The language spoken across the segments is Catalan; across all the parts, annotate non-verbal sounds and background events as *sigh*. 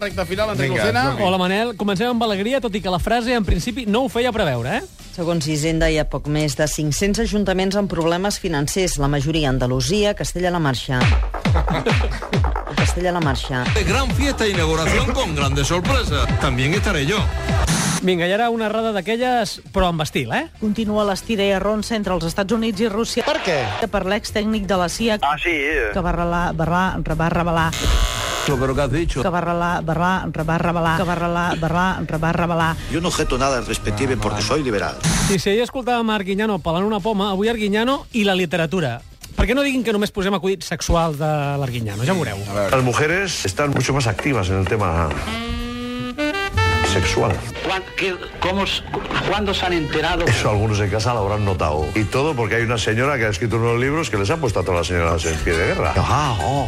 Recta final, Enric Vinga, Lucena. som-hi. Hola, Manel. Comencem amb alegria, tot i que la frase en principi no ho feia preveure, eh? Segons Hisenda, hi ha poc més de 500 ajuntaments amb problemes financers, la majoria a Andalusia, Castella la Marxa. *laughs* Castella la Marxa. Gran fiesta e inauguración con grandes sorpresas. También estaré yo. Vinga, i ara una errada d'aquelles, però amb estil, eh? Continua l'estira i arronsa entre els Estats Units i Rússia. Per què? Per l'ex-tècnic de la CIA. Ah, sí? Que va revelar, va, re- va revelar, Pero que has dicho. que va revelar, va, re- va revelar, que va revelar, va, re- va revelar. Yo no objeto nada al respectivo Ah, porque soy liberal. I si ahir escoltàvem a Arguiñano pelant una poma, avui Arguiñano i la literatura. Per què no diguin que només posem acudits sexuals de l'Arguiñano? Ja ho veureu. Las mujeres están mucho más activas en el tema sexual. ¿Cuán- qué- cómo s- cu- ¿Cuándo se han enterado? Eso algunos en casa lo habrán notado. Y todo porque hay una señora que ha escrito unos libros que les ha puesto a todas las señoras en pie de guerra. Ah, oh.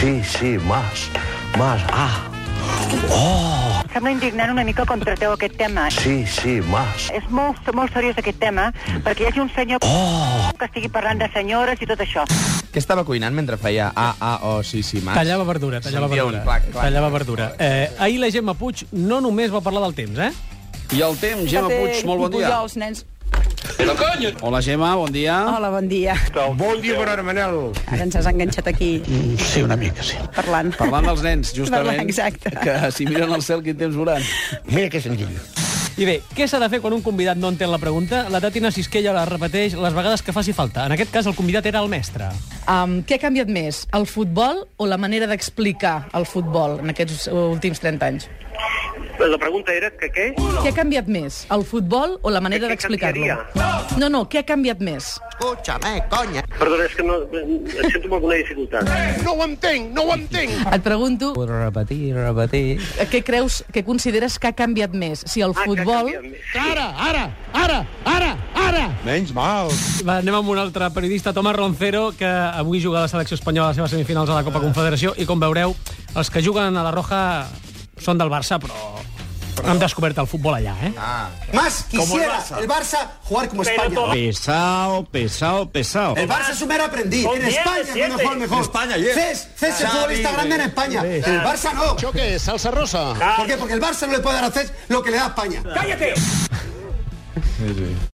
Sí, sí, más, más, ah, Sembla indignant una mica com tracteu aquest tema. sí, sí, más. És molt, molt seriós aquest tema, perquè hi hagi un senyor que estigui parlant de senyores i tot això. Què estava cuinant mentre feia ah, ah, oh, sí, sí, mas? Tallava verdura, tallava Sentia verdura. un clac, clac. Tallava verdura. Eh, ahir la Gemma Puig no només va parlar del temps, eh? I el temps, Gemma Puig, molt bon dia. els nens. Ah. Hola, Gemma, bon dia. Hola, bon dia. Bon dia, bona hora, Manel. Ara ens has enganxat aquí. Mm, Sí, una mica, sí. Parlant. Parlant dels nens, justament, Parlant, exacte. que si miren al cel quin temps veuran. Mira que senzill. I bé, què s'ha de fer quan un convidat no entén la pregunta? La Tàtina Sisquella la repeteix les vegades que faci falta. En aquest cas, el convidat era el mestre. Um, què ha canviat més, el futbol o la manera d'explicar el futbol en aquests últims 30 anys? Pues La pregunta era que què? Què ha canviat més, el futbol o la manera d'explicar-lo? No, no, què ha canviat més? Escúchame, coña. Perdona, és que no... Sento amb alguna dificultat. No ho entenc, no ho entenc. Et pregunto, Repetir, repetir... eh, què creus, què consideres que ha canviat més? Si Ah, el futbol... Ara, ara, ara, ara, ara. Menys mal. Va, anem amb un altre periodista, Tomás Roncero, que avui juga a la selecció espanyola a les seves semifinals a la Copa Confederació i, com veureu, els que juguen a la Roja són del Barça, però hem descobert el futbol allà, eh? Más quisiera el Barça, jugar como España. Pesao, pesao, pesao. El Barça es un mero aprendiz. En España, mejor, mejor. En España, ayer. Cés, Cés el futbolista grande en España. El Barça no. Això què és, salsa rosa? ¿Por qué? Porque el Barça no le puede dar a Cés lo que le da a España.